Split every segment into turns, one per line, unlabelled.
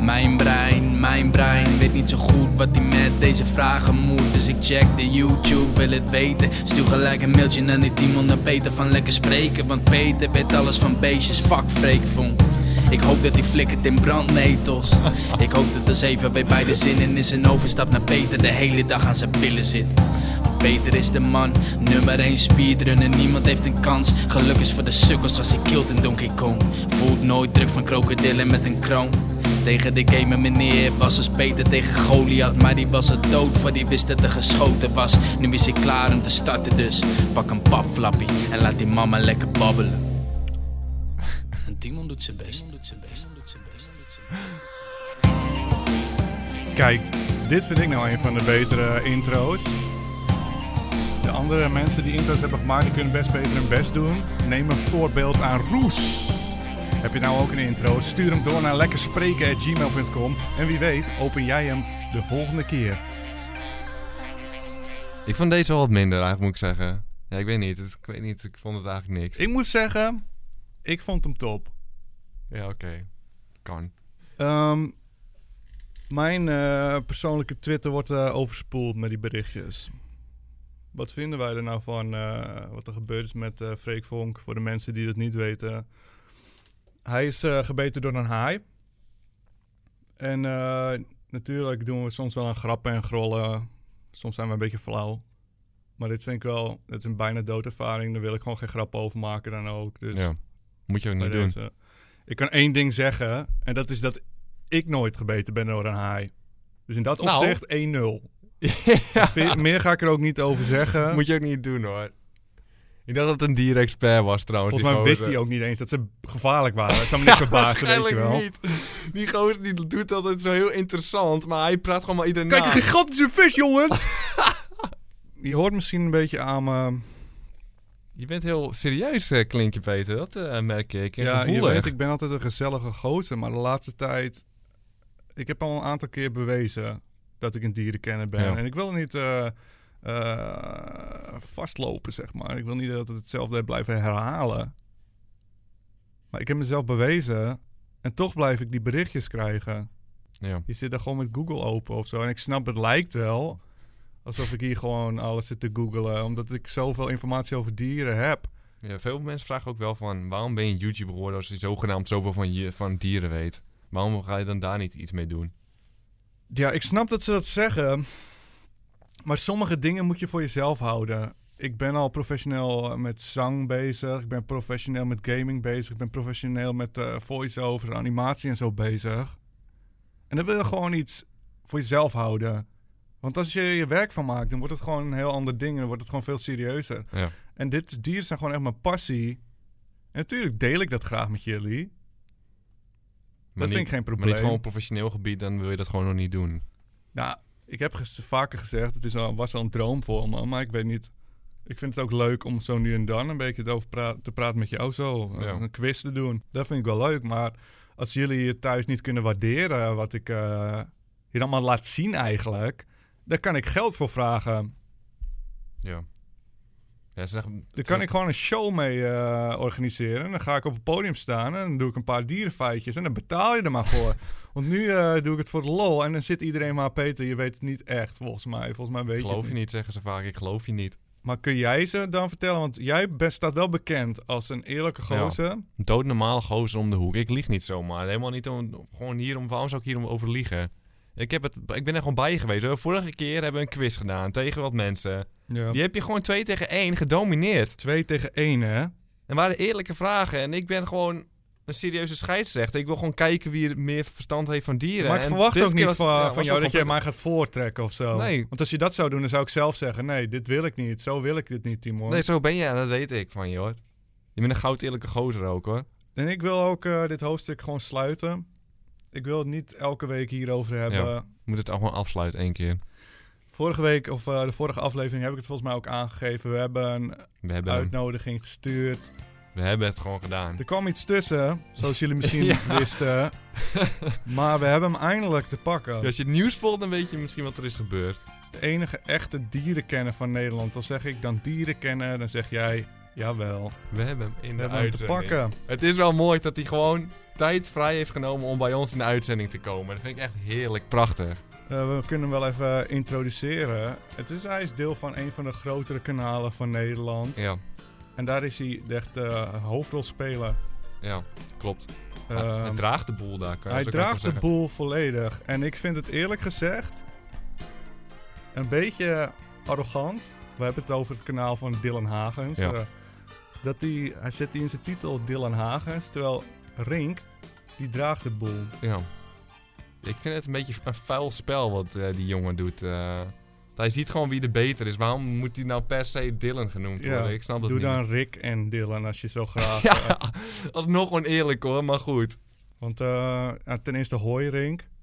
Mijn brein, mijn brein weet niet zo goed wat hij met deze vragen moet. Dus ik check de YouTube, wil het weten. Stuur gelijk een mailtje naar die Timon naar Peter van Lekker Spreken. Want Peter weet alles van beestjes, fuck Freekvonk. Ik hoop dat hij flikkert in brandnetels. Ik hoop dat de zeven weer bij de zin en is en overstapt naar Peter de hele dag aan zijn pillen zit. Peter is de man, nummer 1 speedrunner, niemand heeft een kans. Geluk is voor de sukkels als hij kilt in Donkey Kong. Voelt nooit druk van krokodillen met een kroon. Tegen de gamer meneer was als Peter tegen Goliath, maar die was er dood voor die wist dat er geschoten was. Nu is hij klaar om te starten dus, pak een papflappie en laat die mama lekker babbelen. En Timon doet zijn best.
Kijk, dit vind ik nou een van de betere intro's. De andere mensen die intro's hebben gemaakt, die kunnen best beter hun best doen. Neem een voorbeeld aan Roes. Heb je nou ook een intro? Stuur hem door naar lekkerspreken.gmail.com. En wie weet, open jij hem de volgende keer.
Ik vond deze wel wat minder eigenlijk, moet ik zeggen. Ja, ik weet niet. Het- ik weet niet. Ik vond het eigenlijk niks.
Ik moet zeggen, ik vond hem top.
Ja, oké. Kan.
Ehm, mijn eh, persoonlijke Twitter wordt eh, overspoeld met die berichtjes. Wat vinden wij er nou van eh, wat er gebeurd is met eh Freek Vonk? Voor de mensen die dat niet weten. Hij is eh, gebeten door een haai. En eh, natuurlijk doen we soms wel een grappen en grollen. Soms zijn we een beetje flauw. Maar dit vind ik wel, het is een bijna doodervaring. Daar wil ik gewoon geen grappen over maken dan ook. Dus
Ja. Moet je ook niet
bij
doen.
deze. Ik kan één ding zeggen, en dat is dat ik nooit gebeten ben door een haai. Dus in dat
Nou.
opzicht 1-0. Ve- Meer ga ik er ook niet over zeggen.
Moet je ook niet doen, hoor. Ik dacht dat het een dierexpert was, trouwens.
Volgens mij
die
wist
gozer.
hij ook niet eens dat ze gevaarlijk waren. Dat zou me niet verbazen, weet je
Waarschijnlijk
wel.
niet. Die gozer die doet altijd zo heel interessant, maar hij praat gewoon maar iedereen
Kijk,
na.
een gigantische vis, jongen! je hoort misschien een beetje aan me...
Je bent heel serieus, eh, klink je, Peter. Dat eh, merk ik. En
Ja, je
gevoelig.
weet, ik ben altijd een gezellige gozer, maar de laatste tijd... Ik heb al een aantal keer bewezen dat ik een dierenkenner ben.
Ja.
En ik wil niet eh, eh, vastlopen, zeg maar. Ik wil niet dat het hetzelfde blijven herhalen. Maar ik heb mezelf bewezen en toch blijf ik die berichtjes krijgen.
Ja.
Je zit daar gewoon met Google open of zo. En ik snap, het lijkt wel alsof ik hier gewoon alles zit te googlen. Omdat ik zoveel informatie over dieren heb.
Ja, veel mensen vragen ook wel van... waarom ben je YouTube geworden als je zogenaamd zoveel van, je, van dieren weet? Waarom ga je dan daar niet iets mee doen?
Ja, ik snap dat ze dat zeggen. Maar sommige dingen moet je voor jezelf houden. Ik ben al professioneel eh, met zang bezig. Ik ben professioneel met gaming bezig. Ik ben professioneel met eh voice-over, animatie en zo bezig. En dan wil je gewoon iets voor jezelf houden. Want als je je werk van maakt, dan wordt het gewoon een heel ander ding. Dan wordt het gewoon veel serieuzer.
Ja.
En dit dieren zijn gewoon echt mijn passie. En natuurlijk deel ik dat graag met jullie.
Maar
dat
niet,
vind ik geen
maar
probleem.
niet gewoon op professioneel gebied, dan wil je dat gewoon nog niet doen.
Nou, ik heb ges- vaker gezegd, het is wel, was wel een droom voor me, maar ik weet niet. Ik vind het ook leuk om zo nu en dan een beetje erover pra- te praten met jou zo. eh,
Ja.
Een quiz te doen. Dat vind ik wel leuk. Maar als jullie het thuis niet kunnen waarderen wat ik eh, hier allemaal laat zien eigenlijk, daar kan ik geld voor vragen.
Ja. ja ze zeggen,
Daar kan ik gewoon een show mee eh, organiseren. En dan ga ik op het podium staan en dan doe ik een paar dierenfeitjes. En dan betaal je er maar voor. Want nu eh, doe ik het voor de lol. En dan zit iedereen maar, Peter, je weet het niet echt volgens mij. Volgens mij weet
geloof
je
je
het
niet, zeggen ze vaak. Ik geloof je niet.
Maar kun jij ze dan vertellen? Want jij bent, staat wel bekend als een eerlijke
Ja.
gozer.
Een doodnormaal gozer om de hoek. Ik lieg niet zomaar. Helemaal niet om, gewoon hierom. Waarom zou ik hierom over liegen? Ik, heb het, ik ben er gewoon bij je geweest. hoor. Vorige keer hebben we een quiz gedaan tegen wat mensen. Die heb je gewoon 2 tegen 1 gedomineerd.
Twee tegen één, hè?
En waren eerlijke vragen. En ik ben gewoon een serieuze scheidsrechter. Ik wil gewoon kijken wie er meer verstand heeft van dieren.
maar ik
En
verwacht
dit
ook
keer
niet
was-
van,
ja,
van
was
jou
ook
dat jij
compleet-
mij gaat voortrekken of zo.
Nee.
Want als je dat zou doen, dan zou ik zelf zeggen... Nee, dit wil ik niet. Zo wil ik dit niet, Timon.
Nee, zo ben je. en Dat weet ik van je, hoor. Je bent een goud eerlijke gozer ook, hoor.
En ik wil ook eh, dit hoofdstuk gewoon sluiten. Ik wil het niet elke week hierover hebben.
Ja. Moet het gewoon afsluiten één keer.
Vorige week, of eh, de vorige aflevering, heb ik het volgens mij ook aangegeven. We hebben een
We hebben, hem.
uitnodiging gestuurd.
We hebben het gewoon gedaan.
Er kwam iets tussen, zoals jullie misschien
Ja.
wisten. Maar we hebben hem eindelijk te pakken.
Als je het nieuws volgt, dan weet je misschien wat er is gebeurd.
De enige echte dierenkenner van Nederland. Dan zeg ik dan dierenkenner, dan zeg jij jawel.
We hebben hem
We
in de
hebben hem te
uitzending.
pakken.
Het is wel mooi dat hij gewoon tijd vrij heeft genomen om bij ons in de uitzending te komen. Dat vind ik echt heerlijk prachtig.
Eh, we kunnen hem wel even introduceren. Het is, hij is deel van een van de grotere kanalen van Nederland.
Ja,
En daar is hij de echte eh, hoofdrolspeler.
ja, klopt. Hij-
Ehm,
hij draagt de boel daar. Kan je
hij
dat ook net
draagt
wel
de
zeggen.
boel volledig. En ik vind het eerlijk gezegd een beetje arrogant. We hebben het over het kanaal van Dylan Hagens.
Ja.
eh, dat hij, hij zet die in zijn titel Dylan Hagens. Terwijl Rink, die draagt de boel.
Ja. Ik vind het een beetje een vuil spel wat eh, die jongen doet. eh. hij ziet gewoon wie de beter is. Waarom moet hij nou per se Dylan genoemd
Ja,
worden? Ik snap dat
Doe
niet.
dan Rick en Dylan als je zo graag... eh,
Ja, alsnog oneerlijk hoor, maar goed.
want eh, ja, ten eerste hoi Rink.
Ha-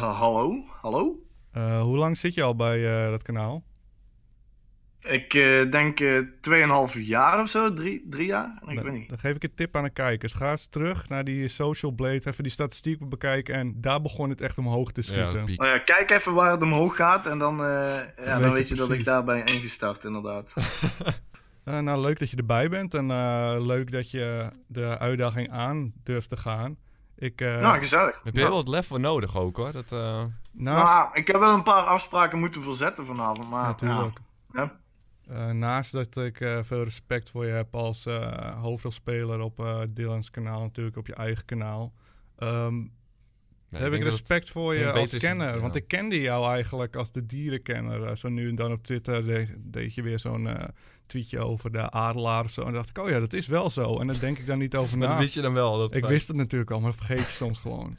Eh, hallo? Hallo?
Eh, hoe lang zit je al bij eh, dat kanaal?
Ik eh, denk eh 2,5 jaar of zo, drie, drie jaar? Ik
Nou,
weet niet.
Dan geef ik een tip aan de kijkers. Ga eens terug naar die Social Blade, even die statistieken bekijken. En daar begon het echt omhoog te schieten.
Ja, piek.
Nou ja, kijk even waar het omhoog gaat en dan, eh, ja,
weet
dan
je
weet je dat
precies.
ik daar ben ingestart, inderdaad.
Eh, nou, leuk dat je erbij bent en eh, leuk dat je de uitdaging aan durft te gaan. Ik, eh,
nou, gezellig.
Heb je
Nou,
wel wat lef voor nodig ook hoor. Dat, eh,
naast,
nou, ik heb wel een paar afspraken moeten verzetten vanavond, maar...
natuurlijk,
ah, ja, ja.
Eh, naast dat ik eh, veel respect voor je heb als eh, hoofdrolspeler op eh Dylan's kanaal, natuurlijk op je eigen kanaal, ehm,
nee,
heb
denk
ik
dat-
respect voor
ik
je
denk
als
beter is-
kenner.
ja.
Want ik kende jou eigenlijk als de dierenkenner. Eh, zo nu en dan op Twitter de- deed je weer zo'n eh, tweetje over de adelaar of zo. En dan dacht ik, oh ja, dat is wel zo. En daar denk ik dan niet over
Maar
na.
dat wist je dan wel. Dat
Ik wist het natuurlijk al, maar vergeet je soms gewoon.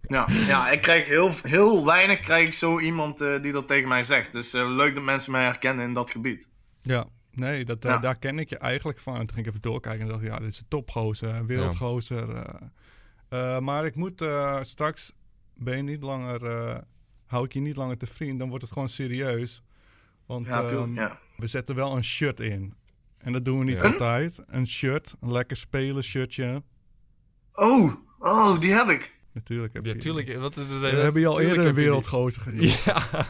Ja, ja, ik krijg heel, heel weinig krijg ik zo iemand eh, die dat tegen mij zegt. Dus eh, leuk dat mensen mij herkennen in dat gebied.
Ja, nee, dat, eh,
Ja.
daar ken ik je eigenlijk van. En toen ging ik even doorkijken en dacht ik, ja, dit is een topgozer, wereldgozer. eh. Eh, maar ik moet eh, straks, ben je niet langer, eh, hou ik je niet langer te vriend, dan wordt het gewoon serieus. Want
Ja,
ehm,
tuurlijk, ja.
we zetten wel een shirt in. En dat doen we niet
Ja.
altijd. Een shirt, een lekker spelen shirtje.
Oh, oh, die heb ik.
Natuurlijk heb je
Ja, tuurlijk. Wat is
We hebben je al eerder een
wereld
wereldgozer gezien.
Ja.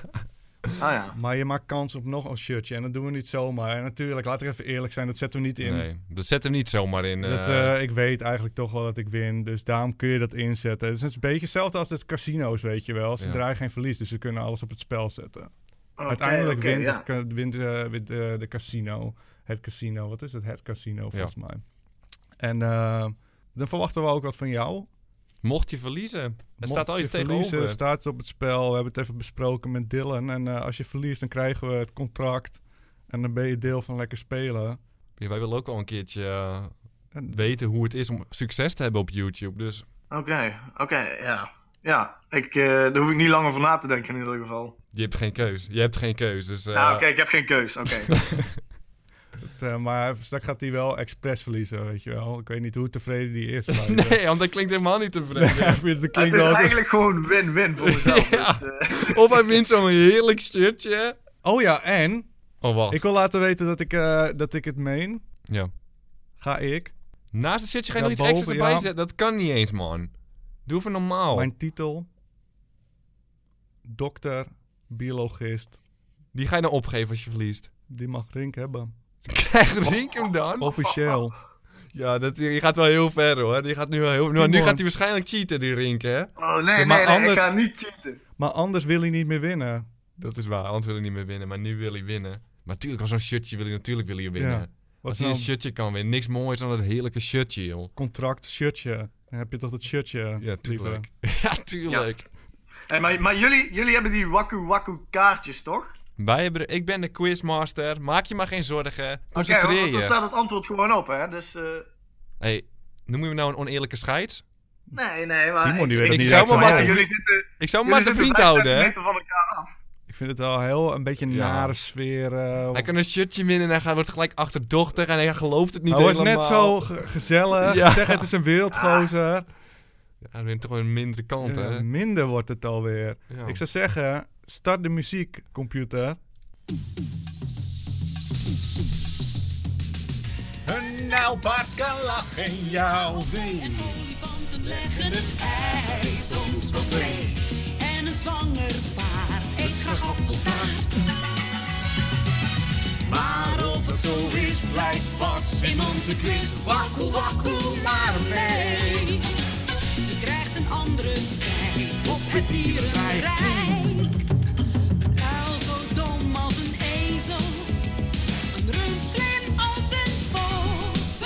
Ah ja.
Maar je maakt kans op nog een shirtje. En dat doen we niet zomaar. En natuurlijk, laat ik even eerlijk zijn, dat zetten we niet in.
Nee, dat zet hem niet zomaar in.
Dat,
eh,
eh, ik weet eigenlijk toch wel dat ik win. Dus daarom kun je dat inzetten. Het is een beetje hetzelfde als het casino's, weet je wel. Ze
Ja.
draaien geen verlies, dus ze kunnen alles op het spel zetten.
Oké,
Uiteindelijk
oké,
wint,
ja.
het, ca- wint, eh, wint, eh, de casino. Het casino, wat is het? Het casino, volgens mij. En eh, dan verwachten we ook wat van jou.
mocht je verliezen, er staat al
je
iets
verliezen,
tegenover.
staat het op het spel. We hebben het even besproken met Dylan. En eh, als je verliest, dan krijgen we het contract. En dan ben je deel van lekker spelen.
Ja, wij willen ook al een keertje eh,
En
weten hoe het is om succes te hebben op YouTube. Dus
Oké, oké, ja. Ja, ik, eh, daar hoef ik niet langer voor na te denken in ieder geval.
je hebt geen keus. Je hebt geen keus. Dus, eh,
Ja, Nou, oké, ik heb geen keus. Oké.
Het, eh, maar straks gaat hij wel expres verliezen, weet je wel. Ik weet niet hoe tevreden die is. Maar, eh,
Nee, want dat klinkt helemaal niet tevreden.
ja, ik vind- dat
Het
klinkt
is
wel zo-
eigenlijk gewoon win-win voor mezelf.
Ja.
Dus, eh,
Of hij wint zo'n heerlijk shirtje.
Oh ja, en
Oh, wacht.
ik wil laten weten dat ik, eh, dat ik het meen.
Ja.
Ga ik.
Naast het shirtje ga je
Ja,
nog iets extra's
boven,
erbij
ja.
zetten. Dat kan niet eens, man. Doe even
Oh.
normaal.
Mijn titel. Dokter, biologist.
Die ga je dan opgeven als je verliest.
Die mag Rink hebben.
Krijg Rink hem
Oh.
dan?
Officieel.
Ja, dat, die gaat wel heel ver, hoor. Die gaat nu wel heel... Nou, nu
Timon.
gaat hij waarschijnlijk cheaten, die Rink, hè?
oh nee,
Ja, maar
nee, nee,
anders-
ik ga niet cheaten.
Maar anders wil hij niet meer winnen.
Dat is waar, anders wil hij niet meer winnen. Maar nu wil hij winnen. Maar natuurlijk, als zo'n shirtje wil hij natuurlijk wil hij winnen.
Ja. Wat
Als
is
hij
nou
een
een
shirtje kan winnen. Niks moois dan dat heerlijke shirtje, joh.
contract shirtje? Dan heb je toch dat shirtje?
Ja,
liever.
tuurlijk. Ja, tuurlijk.
Hey, maar maar jullie, jullie hebben die wakku wakku kaartjes, toch?
Wij hebben, ik ben de quizmaster. Maak je maar geen zorgen.
Oké,
Concentreer
want
je.
dan staat het antwoord gewoon op, hè? Dus. eh,
hey, noemen we nou een oneerlijke scheids?
nee, nee, maar.
Timon, die
ik-
weet het
ik-
ik
niet
zou
uit zijn
maar wat
ja,
hoofd.
te-
jullie zitten.
Ik zou hem
jullie
maar te
zitten
vriend
vijf
houden, hè?
centimeter van elkaar af.
Ik vind het al heel een beetje een
Ja.
nare sfeer. eh,
Hij kan een shirtje winnen en hij gaat- wordt gelijk achterdochtig en hij gelooft het niet
Hij was
helemaal.
net zo ge- gezellig.
Ja.
Zeg, het is een wereldgozer.
Ja, hij wint toch wel een mindere kant,
Eh,
hè?
minder wordt het alweer.
Ja.
Ik zou zeggen, start de muziek, computer.
Een nijlpaard kan lachen in jouw been.
En olifanten leggen het ei, soms wel twee. En een zwanger paard, ik graag appeltaart.
Maar of het zo is, blijkt pas in onze quiz. Wakku wakku maar mee.
anderen kijk op het dierenrijk. Een uil zo dom als een ezel, een rund slim als een vos.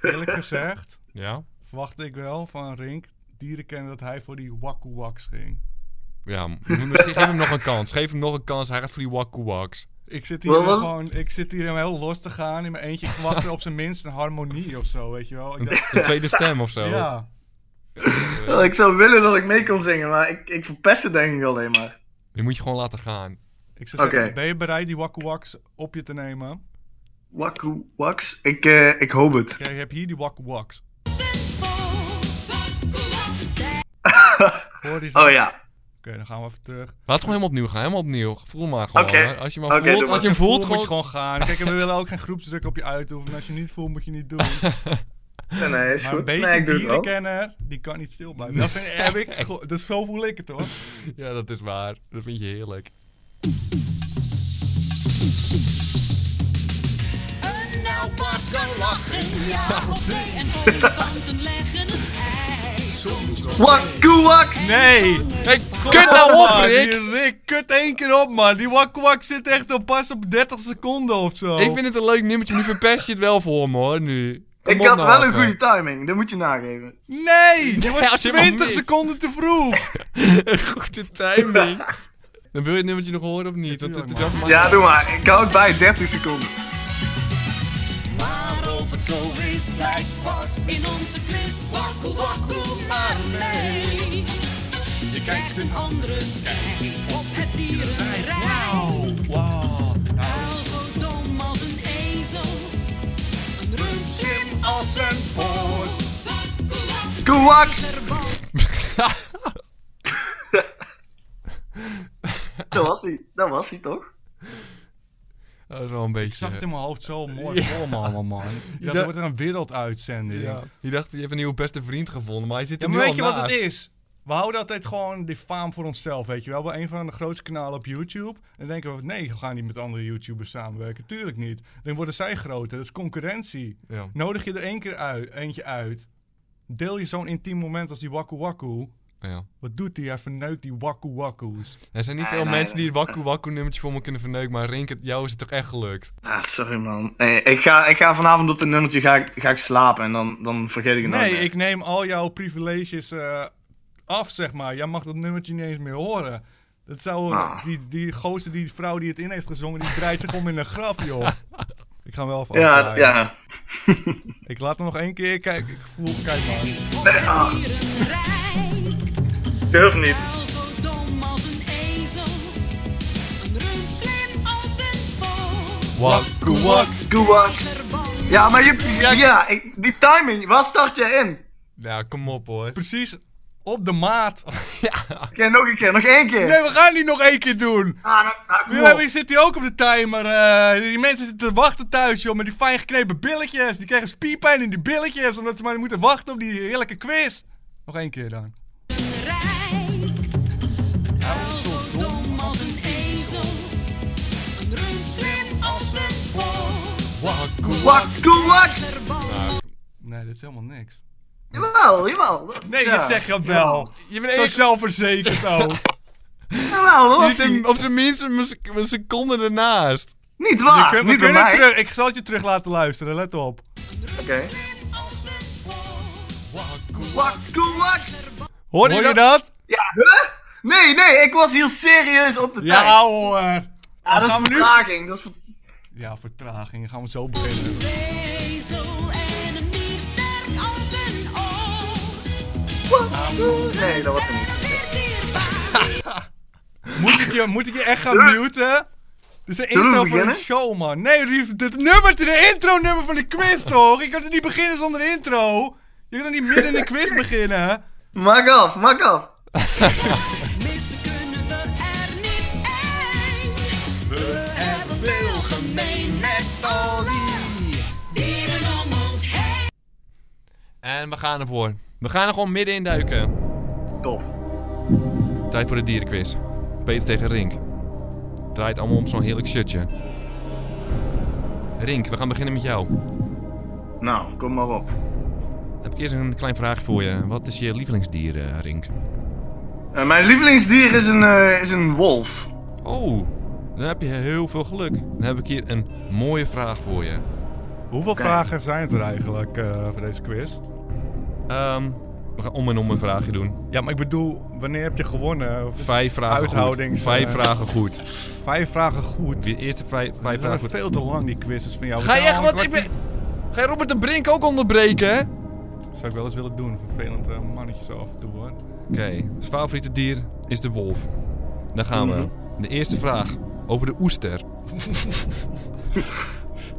Eerlijk gezegd
Ja?
verwachtte ik wel van Rink, dierenkenner, dat hij voor die wakku waks ging.
Ja, m- misschien geef hem nog een kans. Geef hem nog een kans. Hij gaat voor die Waku Waks.
Ik zit hier
Wat was-
gewoon, ik zit hier helemaal los te gaan in mijn eentje. Ik verwachtte op zijn minst een harmonie of zo, weet je wel. Ik dacht,
Een tweede stem of zo.
ja.
Wel, Ik zou willen dat ik mee kon zingen, maar ik, ik verpest het denk ik alleen maar.
Die moet je gewoon laten gaan.
Ik zou zeggen,
Oké.
ben je bereid die wakku waks op je te nemen?
Wakku Waks? Ik, eh, ik hoop het.
Kijk, je hebt hier die wakku waks. Hoor die zo?
Oh
Oké,
ja.
dan gaan we even terug.
Laat het gewoon helemaal opnieuw gaan. Helemaal opnieuw. Voel maar gewoon.
Oké.
hè. Als je, maar
Oké, doe
voelt,
maar.
als je hem
Voelt
voelt,
moet je
gewoon...
gewoon gaan. Kijk, en we willen ook geen groepsdruk op je uitoefenen. Als je niet voelt, moet je niet doen.
Nee, nee, is
Maar een
goed.
beetje
Nee, ik doe het wel.
dierenkenner, die kan niet stil blijven. Dat vind, heb ik, ge- dus zo voel ik het hoor.
Ja, dat is waar. Dat vind je heerlijk.
Een alpaca lachen, ja of nee, en voor de tanden leggen een ei. Soms op
Wakku Waks!
Nee!
Hey, kut nou op, Rick!
Die Rick, kut één keer op man. Die wakwak zit echt op pas op 30 seconden of zo.
Ik vind het een leuk nummertje, maar nu verpest je het wel voor me, hoor, nu. Kom
Ik
op
had
nou
wel een
even.
goede timing, dat moet je nageven.
Nee! Je was
als je hem al
20
mist.
seconden te vroeg!
Een goede timing. Dan wil je het nummertje nog horen of niet? Want het is wel
Ja, doe maar. Ik hou het bij 30 seconden.
Maar of het zo is, blijkt pas in onze quiz. Wakku, wakku, maar nee. Je kijkt een andere kijk op het dierenrijk. Al zo dom als een ezel. Een rund slim als een bos.
Wakku Waks! Dat was hij, dat was hij toch?
Oh, Dat is wel een beetje...
Ik zag het in mijn hoofd zo mooi voor me allemaal man. Ja, dat wordt een werelduitzending.
ja. Je dacht, je hebt een nieuwe beste vriend gevonden, maar hij zit
Ja,
er
maar
nu
weet je
al
wat het
naast.
is? We houden altijd gewoon die faam voor onszelf, weet je wel. We hebben een van de grootste kanalen op YouTube. En denken we, nee, we gaan niet met andere YouTubers samenwerken. Tuurlijk niet. Dan worden zij groter. Dat is concurrentie.
Ja.
Nodig je er één keer uit, eentje uit. Deel je zo'n intiem moment als die wakku wakku.
Ja.
Wat doet die? Hij verneukt die wakku wakku's.
Er zijn niet veel mensen die het wakku wakku nummertje voor me kunnen verneuken, maar Rink, het- jou is het toch echt gelukt?
Ah, sorry man. Hey, ik, ga, ik ga vanavond op dit nummertje ga, ik- ga ik slapen en dan, dan vergeet ik het
Nee,
nooit meer.
ik neem al jouw privileges eh, af, zeg maar. Jij mag dat nummertje niet eens meer horen. Dat zou,
Ah.
die, die gozer, die vrouw die het in heeft gezongen, die draait zich om in een graf, joh. Ik ga hem wel even
Ja,
afdraaien.
ja.
Ik laat hem nog één keer kijken. Ik voel, kijk maar.
Op het dierenrijk.
Durf niet.
Al zo dom als een ezel. Een rund slim als een bos.
Wakku wak!
Wakku Waks! Ja, maar je,
Ja,
ja,
ik-
ik, die timing, waar start jij in?
Ja, kom op hoor.
Precies op de maat.
Oké, nog een keer, nog één keer.
Nee, we gaan die nog één keer doen.
Ah, nou, nou, kom
Nu
op.
hebben- zit hij ook op de timer. eh. die mensen zitten te wachten thuis, joh, met die fijn geknepen billetjes. Die krijgen spierpijn in die billetjes, omdat ze maar moeten wachten op die heerlijke quiz. Nog één keer dan.
Rijk. Al zo dom als een ezel. Een rund slim als een bos.
Wakku wak!
Wakku Waks!
Nee, dit is helemaal niks.
Jawel, jawel.
Nee,
Ja.
je zegt dat wel.
Je bent
Zo
echt...
zelfverzekerd ook.
Jawel, dat
Je
was
zit hem
niet,
op zijn minst een, sec- een seconde ernaast.
niet
Je
waar.
kunt- we
Ah, niet bij
kunnen
mij.
terug. Ik zal het je terug laten luisteren, let op.
Oké.
Als een bos.
Wakku Waks!
Hoor
Hoor
je
je
dat?
dat?
Ja, huh? Nee, nee, ik was hier serieus op de tijd.
Ja hoor.
Ja, dat
gaan we
is
nu-
vertraging. Dat is ver-
Ja, vertraging. Gaan we zo beginnen.
Een ezel en een dier sterk als een os.
Nee, dat was
Zij
hem niet.
zeer dierbaar.
Moet ik je, moet ik je echt gaan
Zullen we-
muten? Dit is een
Zullen we
intro voor de
beginnen?
show, man. Nee, lief, dit nummer, dit is de intro-nummer van de quiz, toch? Ik kan het niet beginnen zonder intro. Je kan niet midden in de quiz beginnen.
Maak af, maak af.
Missen kunnen we er niet één. We hebben veel gemeen met alle dieren om ons heen.
En we gaan ervoor. We gaan er gewoon midden in duiken.
Top.
Tijd voor de dierenquiz. Peter tegen Rink. Draait allemaal om zo'n heerlijk shirtje. Rink, we gaan beginnen met jou.
Nou, kom maar op.
heb ik eerst een klein vraag voor je. Wat is je lievelingsdier, eh, Rink?
Eh, mijn lievelingsdier is een, eh, is een wolf.
Oh, dan heb je heel veel geluk. Dan heb ik hier een mooie vraag voor je.
Hoeveel
Oké.
vragen zijn het er eigenlijk eh, voor deze quiz?
Ehm, we gaan om en om een vraagje doen.
Ja, maar ik bedoel, wanneer heb je gewonnen? Of-
Vijf vragen goed.
Huishoudings,
Vijf
eh,
vragen goed.
Vijf vragen goed.
De eerste vijf,
Die
vijf
zijn
vragen goed.
veel te lang, die quizzes van jou. We
Ga je
zijn
echt
al een
wat... Ik ben...
kwartier-
Ga je Robert de Brink ook onderbreken, hè?
Zou ik wel eens willen doen, vervelend eh, mannetje zo af en toe hoor.
Oké, ons favoriete dier is de wolf. Daar gaan we. De eerste vraag over de oester.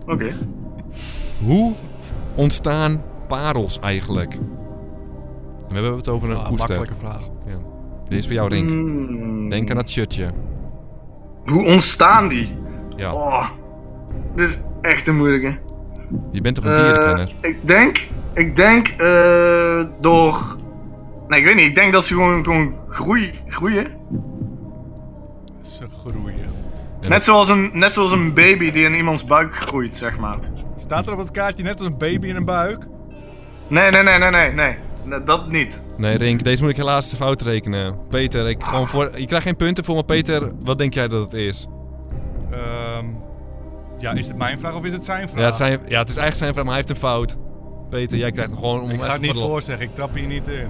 Oké.
Hoe ontstaan parels eigenlijk? We hebben het over een
Ah,
oester.
makkelijke vraag.
Ja. Deze is voor jou, Rink.
Hmm.
Denk aan dat shirtje.
Hoe ontstaan die?
Ja.
Oh, dit is echt een moeilijke.
Je bent toch een
Eh,
dierenkenner?
ik denk, ik denk eh, door. Nee, ik weet niet. Ik denk dat ze gewoon, gewoon groei, groeien.
Ze groeien.
Net zoals, een, net zoals een baby die in iemands buik groeit, zeg maar.
Staat er op het kaartje net als een baby in een buik?
Nee, nee, nee, nee, nee, nee. Nee, Dat niet.
Nee, Rink, deze moet ik helaas fout rekenen. Peter, ik gewoon voor... je krijgt geen punten voor, maar Peter, wat denk jij dat het is?
Ehm, ja, is het mijn vraag of is het zijn vraag?
Ja, het, zijn... ja, het is eigenlijk zijn vraag, maar hij heeft een fout. Peter, jij krijgt hem gewoon om
Ik ga
even
het niet
voor de-
voorzeggen, ik trap hier niet in.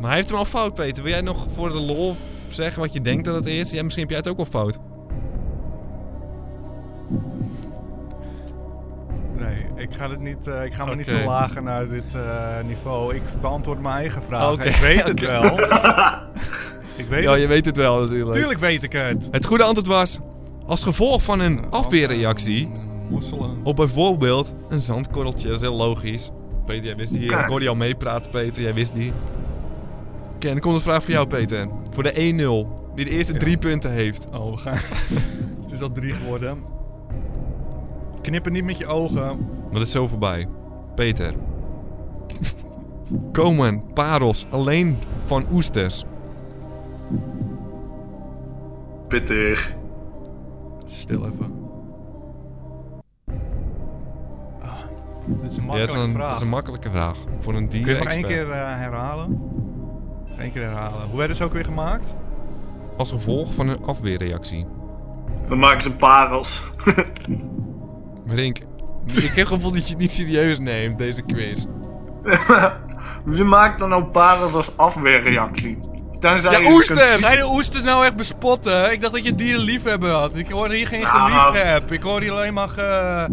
Maar hij heeft hem al fout, Peter. Wil jij nog voor de lol zeggen wat je denkt dat het is? Ja, misschien heb jij het ook al fout.
Nee, ik ga, het niet, eh, ik ga me niet
Oké.
verlagen naar dit eh, niveau. Ik beantwoord mijn eigen vraag.
Oké,
Ik weet het
oké.
wel. ik weet
Ja,
het.
je weet het wel natuurlijk.
Tuurlijk weet ik het.
Het goede antwoord was... Als gevolg van een afweerreactie
Mosselen.
op bijvoorbeeld een zandkorreltje. Dat is heel logisch. Peter, jij wist die. Ik hoorde jou meepraten, Peter. Jij wist die. Oké, en dan komt een vraag voor jou, Peter. Voor de 1-0. Wie de eerste drie punten heeft.
Oh, we gaan. het is al drie geworden. Knippen niet met je ogen.
Dat is zo voorbij. Peter. Komen parels alleen van oesters?
Pittig.
Stil even. Ah, dit is een
Ja, dat
makkelijke
is een, dat
vraag.
is een makkelijke vraag. Voor een
Kun je het nog één
dier-expert.
keer eh, herhalen? Eén keer herhalen. Hoe werd het ook weer gemaakt?
Als gevolg van een afweerreactie.
Dan maken ze parels.
Rink, ik heb het gevoel dat je het niet serieus neemt, deze quiz.
Wie maakt dan nou parels als afweerreactie? Tenzij je
Ja,
kunt-
oesters!
de oester nou echt bespotten? Ik dacht dat je dierenliefhebber had. Ik hoor hier geen
Nou.
geliefheb. Ik hoor hier alleen maar ge...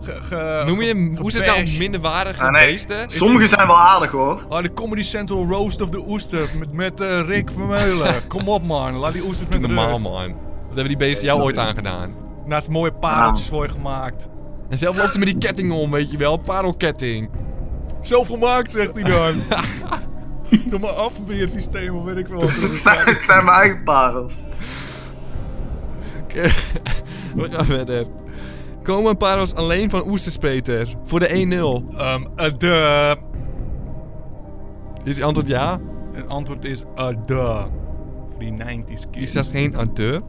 ge, ge-
Noem je
ge-
oesters nou
gebash.
minderwaardige
Ah, nee.
beesten?
Sommige zijn wel aardig hoor.
Oh, de Comedy Central Roast of the Oester met, met eh, Rick Vermeulen. Kom op man, laat die oesters met
Normaal
rust.
man. Wat hebben die beesten jou ooit aangedaan?
Naast mooie pareltjes voor je gemaakt.
En zelf loopt hij met die ketting om, weet je wel, parelketting.
Zelf gemaakt, zegt hij dan. Door mijn afweersysteem of weet ik wel. wat.
Het zijn, het zijn mijn eigen parels.
Oké, We gaan verder. Komen parels alleen van oesters, Peter? Voor de
Ehm, eh, de...
1-0. Is het antwoord ja?
Het antwoord is eh, de. Voor die 90s
Hier
kids.
staat geen adieu.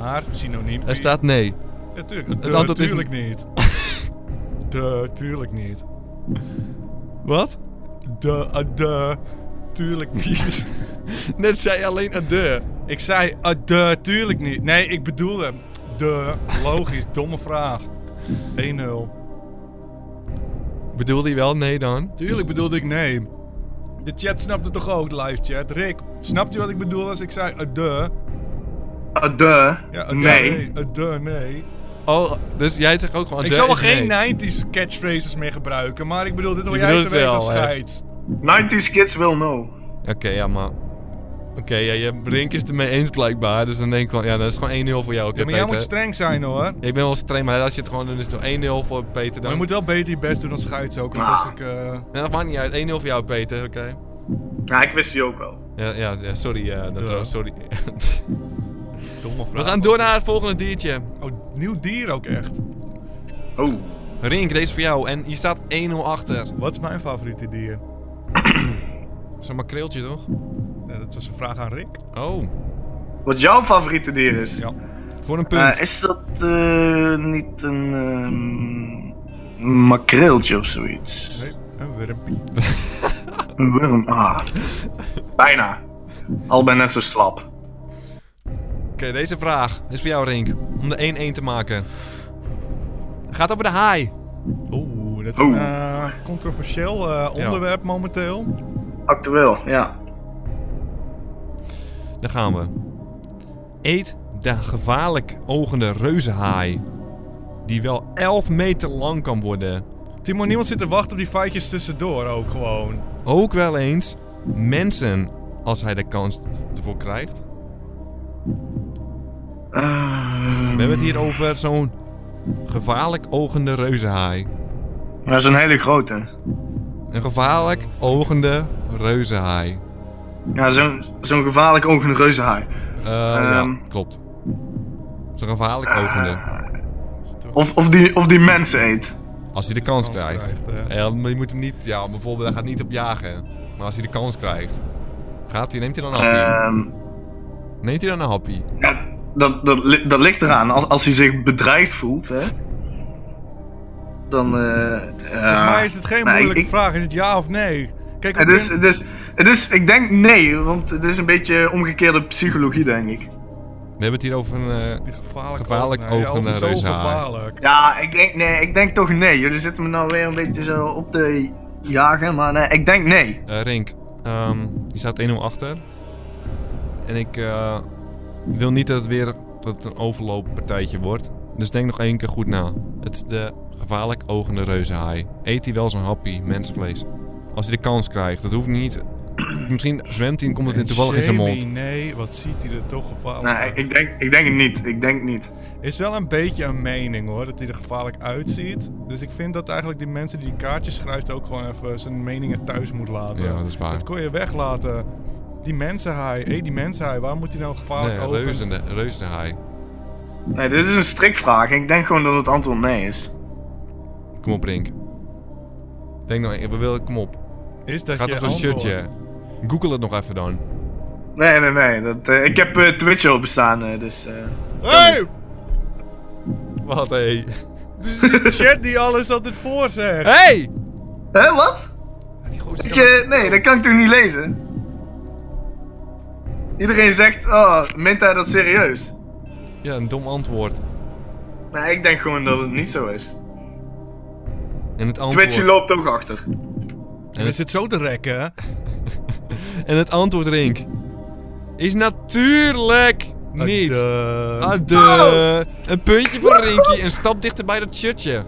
Maar, synoniem.
Er staat nee.
Ja, tuurlijk.
Het
De,
antwoord is-
tuurlijk niet. De, tuurlijk niet.
Wat?
De, eh, de, tuurlijk niet.
Net zei je alleen adieu.
Ik zei, eh, de, tuurlijk niet. Nee, ik bedoelde, de, logisch, domme vraag. 1-0.
Bedoelde hij wel nee dan?
Tuurlijk bedoelde ik nee. De chat snapt het toch ook, live chat? Rick, snapt je wat ik bedoel als ik zei, eh, de?
Eh, duh.
Ja, eh,
nee.
eh, de, nee.
Oh, dus jij zegt ook gewoon
Ik
de
zal wel
is
geen
nee.
90s catchphrases meer gebruiken, maar ik bedoel, dit wil
Je
jij
bedoelt
te
het
weten
wel,
als
hè?
scheids.
90s kids will know.
Oké, ja, maar... Oké, ja, je Brink is het ermee eens blijkbaar. Dus dan denk ik wel, ja, dat is gewoon 1-0 voor jou. Oké,
Ja, maar jij
Peter.
moet streng zijn hoor.
Ja, ik ben wel streng, maar als je het gewoon doet, is het toch 1-0 voor Peter dan.
Maar je moet wel beter je best doen dan scheids ook, want
Ah.
als ik... eh,
Nee, dat maakt niet uit. 1-0 voor jou, Peter. Oké.
Ja, ik wist die ook wel.
Ja, ja, ja, sorry. eh dat
Duh.
trouwens, sorry.
Domme
We
vraag.
gaan door naar het volgende diertje.
Oh, nieuw dier ook echt.
Oh.
Rink, deze is voor jou. En je staat 1-0 achter.
Wat is mijn favoriete dier?
Zo'n makreeltje, toch?
Ja, dat was een vraag aan Rick.
Oh,
Wat jouw favoriete dier is?
Ja.
voor een punt.
Eh, is dat eh, niet een. ehm, makreeltje of zoiets.
Nee, een wurmpie.
Een worm. Ah. Bijna. Al ben net zo slap.
Oké, deze vraag is voor jou, Rink. Om de 1-1 te maken. Het gaat over de haai.
Oeh, dat is
Oeh.
een eh, controversieel eh,
Ja.
onderwerp momenteel.
Actueel, ja.
Daar gaan we. Eet de gevaarlijk ogende reuzenhaai. Die wel 11 meter lang kan worden.
Timo, niemand zit te wachten op die feitjes tussendoor ook gewoon.
Ook wel eens mensen, als hij de kans ervoor krijgt.
Eh,
We hebben het hier over zo'n gevaarlijk ogende reuzenhaai.
Dat is een hele grote.
Een gevaarlijk ogende reuzenhaai.
Ja, zo'n zo'n gevaarlijk ogende reuzenhaai.
Eh ja,
Ehm.
klopt. Zo'n gevaarlijk ogende.
Of, of, die, of die mensen eet.
Als hij de kans
Kans
krijgt. Eh,
krijgt, hè.
Ja, maar je moet hem niet, ja, bijvoorbeeld, hij gaat niet op jagen. Maar als hij de kans krijgt, gaat hij, neemt hij dan een happy?
Ehm,
Neemt hij dan een happy?
ja, dat, dat, li- dat ligt eraan. Als, als hij zich bedreigd voelt, hè. Dan, eh...
Volgens mij is het geen moeilijke
vraag.
vraag. Is het ja of nee? Kijk,
Het
ik
is,
ben-
het, is, het is, ik denk nee, want het is een beetje omgekeerde psychologie, denk ik.
We hebben het hier over een... eh,
die gevaarlijke
gevaarlijk
ogen, hè. Ja,
ogen
of
en
zo
reuzenhaar.
gevaarlijk.
Ja, ik denk, nee, ik denk toch nee. Jullie zitten me nou weer een beetje zo op te jagen, maar nee, ik denk nee.
Eh, Rink, ehm, je staat 1-0 achter. En ik eh, wil niet dat het weer dat het een overlooppartijtje wordt. Dus denk nog één keer goed na. Het is de gevaarlijk ogende reuzenhaai. Eet hij wel zo'n happy mensenvlees? Als hij de kans krijgt, dat hoeft niet. Misschien zwemt hij en komt het in toevallig in zijn
Jamie,
mond.
Nee, wat ziet hij er toch gevaarlijk
Nee,
uit.
ik denk, ik denk het niet. Ik denk niet.
Is wel een beetje een mening hoor, dat hij er gevaarlijk uitziet. Dus ik vind dat eigenlijk die mensen die die kaartjes schrijft ook gewoon even zijn meningen thuis moet laten.
Ja, dat is waar.
Dat kon je weglaten. Die mensenhaai, hé die mensenhaai, waarom moet hij nou gevaarlijk
Nee,
ogen-
reuzende, reuzenhaai.
Nee, dit is een strikvraag. Ik denk gewoon dat het antwoord nee is.
Kom op, Rink. Denk nog één, we willen, kom op.
Is dat
Gaat
je
op zo'n
antwoord?
shirtje. Google het nog even dan.
Nee, nee, nee. Dat, eh, ik heb eh, Twitch openstaan, eh, dus... eh,
Hey! Wat hé?
Die chat die alles altijd voor zegt.
Hey!
Hè, wat? Ik, eh, nee, dat kan ik toch niet lezen? Iedereen zegt, oh, meent hij dat serieus?
Ja, een dom antwoord.
Nee, ik denk gewoon dat het niet zo is.
En het antwoord,
Twitch loopt ook achter.
En hij zit zo te rekken. hè?
en het antwoord Rink, is natuurlijk niet. Ah,
Ade.
Ade.
Oh!
Een puntje voor Rinky, een stap dichter bij dat shirtje.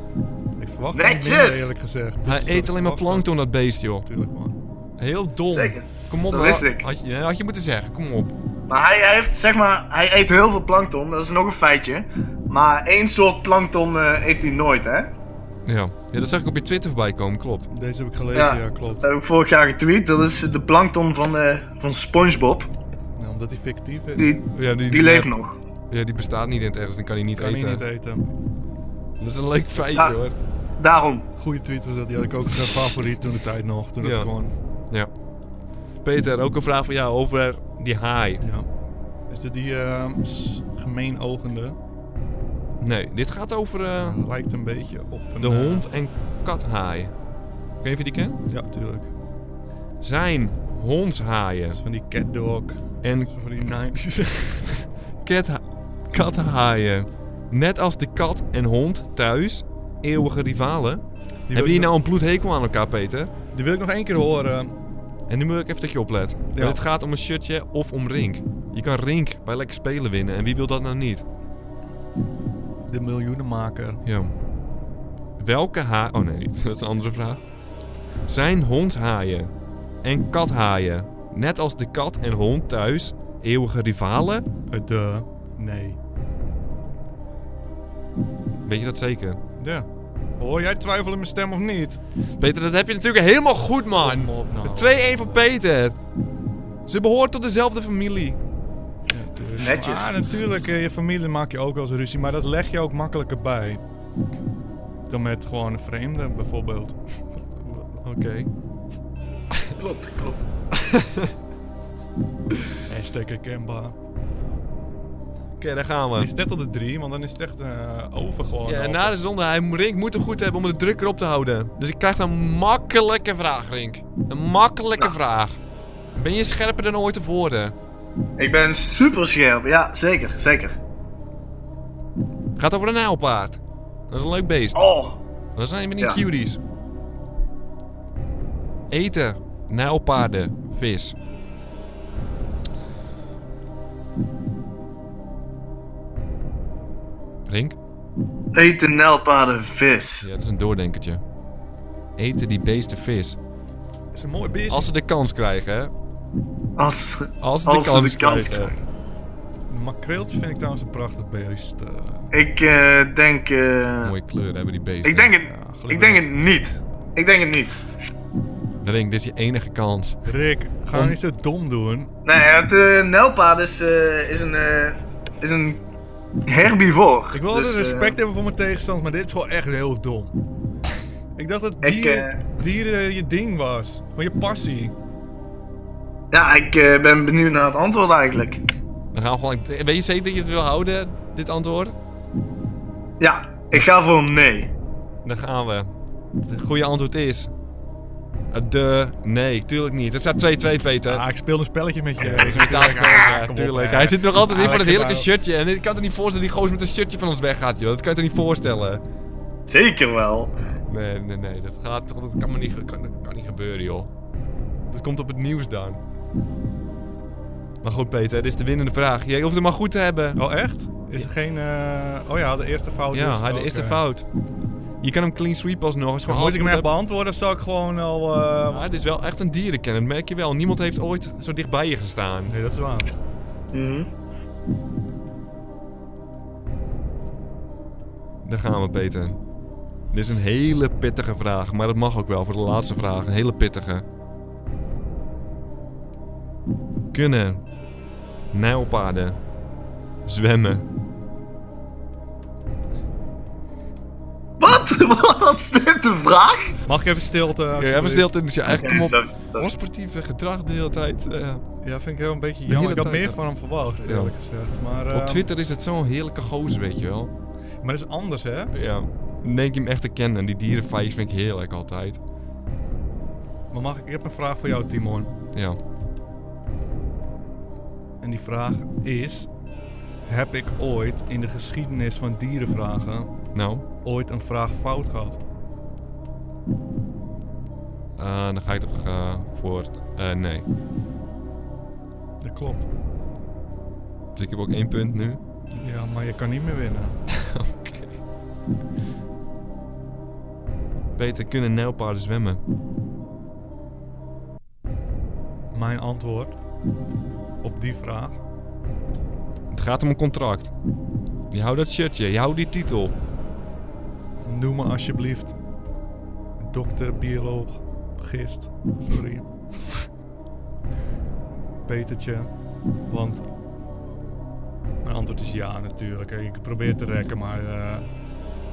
Ik verwacht het
Netjes!
niet minder, eerlijk gezegd. Dus
Hij
dat
eet alleen maar
verwacht ik
plankton, dat beest, joh.
Natuurlijk man.
Heel dom.
Zeker.
Kom op,
Dat
man.
wist ik.
Had, je, had je moeten zeggen, kom op.
Maar hij, hij heeft, zeg maar, hij eet heel veel plankton, dat is nog een feitje. Maar één soort plankton eh, eet hij nooit, hè?
Ja. ja, dat zag ik op je Twitter voorbij komen, klopt.
Deze heb ik gelezen, ja, klopt.
Dat heb ik vorig jaar getweet, dat is de plankton van, eh, van Spongebob.
Ja, omdat hij fictief is,
Die,
Ja,
die leeft nog.
Ja, die bestaat niet in het ergens, dan kan hij niet
kan
eten.
hij niet eten.
Dat is een leuk feitje,
Ja.
hoor.
Daarom.
Goeie tweet was dat, die had ik ook zijn favoriet toen de tijd nog. Toen
Ja.
het gewoon,
Ja. Peter, ook een vraag voor jou over die haai.
ja. Is dit die ehm, s- gemeenogende?
Nee, dit gaat over eh,
Lijkt een beetje op een...
de
eh,
hond- en kathaai. Ik weet niet of je die kent.
ja, tuurlijk.
Zijn hondshaaien
Dat is van die catdog. Zo
en
Van die 90s.
katha- kathaaien, net als de kat en hond thuis, eeuwige rivalen,
wil ik
hebben die
nog-
nou een bloedhekel aan elkaar, Peter?
Die wil ik nog één keer horen.
En nu moet ik even dat je oplet. Want Het gaat om een shirtje of om Rink. Je kan Rink bij lekker spelen winnen en wie wil dat nou niet?
De miljoenenmaker.
Ja. Welke haaien... Oh nee, dat is een andere vraag. Zijn hondhaaien en kathaaien, net als de kat en hond thuis, eeuwige rivalen?
Uit de... Nee.
Weet je dat zeker?
Ja. Hoor jij twijfelen in mijn stem of niet?
Peter, dat heb je natuurlijk helemaal goed, man.
Kom op nou.
2-1 voor Peter. Ze behoort tot dezelfde familie.
Netjes.
Ja, natuurlijk. eh, Je familie maak je ook wel eens ruzie, maar dat leg je ook makkelijker bij. Dan met gewoon een vreemde, bijvoorbeeld.
Oké.
Klopt, klopt.
Hashtag herkenbaar.
Oké, daar gaan we.
Is net al de drie, want dan is het echt eh, over gewoon.
Ja, en
Over.
na de zonde, hij, Rink moet hem goed hebben om de druk erop te houden. Dus ik krijg een makkelijke vraag, Rink. Een makkelijke
Nou.
vraag. Ben je scherper dan ooit tevoren?
Ik ben super scherp, ja, zeker, zeker.
Gaat over een nijlpaard. Dat is een leuk beest.
Oh,
Dat zijn we niet
Ja.
cuties. Eten, nijlpaarden, vis. Rink?
eten nelpaarden vis.
Ja, dat is een doordenkertje. Eten die beesten vis.
is een mooi beest.
Als ze de kans krijgen, hè?
Als,
Als
als,
de
ze
kans
de
krijgen.
kans krijgen.
Een makreeltje vind ik trouwens een prachtig beest. eh.
Ik eh, denk. eh,
Mooie kleuren hebben die beesten.
ik denk het.
gelukkig
ik denk het niet. Ik denk het niet.
Rink, dit is je enige kans.
Rick, ga
Om-
niet zo dom doen.
Nee, het eh nelpaard is, eh, is een. eh, is een herbivoor.
Ik wil
Dus,
altijd
eh,
respect hebben voor mijn tegenstander, maar dit is gewoon echt heel dom. Ik dacht dat
Ik,
dieren,
eh,
dieren je ding was. Van je passie.
ja, ik eh, ben benieuwd naar het antwoord eigenlijk.
Dan gaan we gewoon... Weet je zeker dat je het wil houden, dit antwoord?
Ja, ik ga voor nee.
Dan gaan we. Het goede antwoord is... eh, De... Nee, tuurlijk niet. Het staat 2-2, Peter.
Ah, ik speel een spelletje met je.
Metaals- ja, tuurlijk. Hij zit er nog altijd in van
het
dat heerlijke shirtje. En ik kan het niet voorstellen dat die gozer met een shirtje van ons weggaat, joh. Dat kan je toch niet voorstellen?
Zeker wel.
Nee, nee, nee. Dat gaat toch... Dat kan maar niet, kan, dat kan niet gebeuren, joh. Dat komt op het nieuws dan. Maar goed, Peter. Dit is de winnende vraag. Je hoeft het maar goed te hebben.
Oh, echt? Is er geen... eh, Oh ja, de eerste fout
Ja,
is...
hij de
oké.
eerste fout. Je kan hem clean sweep alsnog. Als je
eh. Maar
gewoon
Moet
alles
ik hem
goed
echt
hebt.
beantwoorden of zou ik gewoon al... eh,
Maar het is wel echt een dierenkenner, dat merk je wel. Niemand heeft ooit zo dicht bij je gestaan.
Nee, dat is waar.
Mhm.
Daar gaan we, Peter. Dit is een hele pittige vraag, maar dat mag ook wel voor de laatste vraag. Een hele pittige. Kunnen nijlpaarden zwemmen?
Wat? Wat is dit de vraag?
Mag ik even stilte?
Ja, jij
alsjeblieft?
verstelt het, dus ja,
Oké,
eigenlijk kom op.
sorry, sorry.
Onsportieve gedrag de hele tijd. eh.
Ja, vind ik wel een beetje
hele
jammer. Ik had
tijd
meer
al.
van hem verwacht,
Ja.
eerlijk gezegd. Maar, eh,
op Twitter is het zo'n heerlijke gozer, weet je wel.
maar dat is anders, hè?
Ja, dan denk je hem echt te kennen. En die dierenfeitjes vind ik heerlijk altijd.
Maar mag ik... Ik heb een vraag voor jou, Timon.
Ja.
En die vraag is: heb ik ooit in de geschiedenis van dierenvragen
Nou,
ooit een vraag fout gehad?
eh, dan ga ik toch eh, voor... eh, nee.
Dat klopt.
Dus ik heb ook één punt nu.
Ja, maar je kan niet meer winnen.
Oké. Peter, kunnen nijlpaarden zwemmen?
Mijn antwoord op die vraag.
Het gaat om een contract. Je houdt dat shirtje, je houdt die titel.
Noem me alsjeblieft dokter, bioloog, gist. Sorry. Petertje. Want mijn antwoord is ja, natuurlijk. Ik probeer te rekken, maar eh,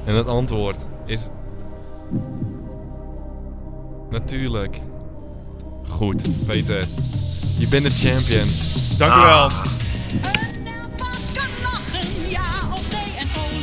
En het antwoord is... Natuurlijk. Goed, Peter. Je bent de champion.
dank u wel.
Ah,
Een nijlpaard kan lachen, ja of nee en oh.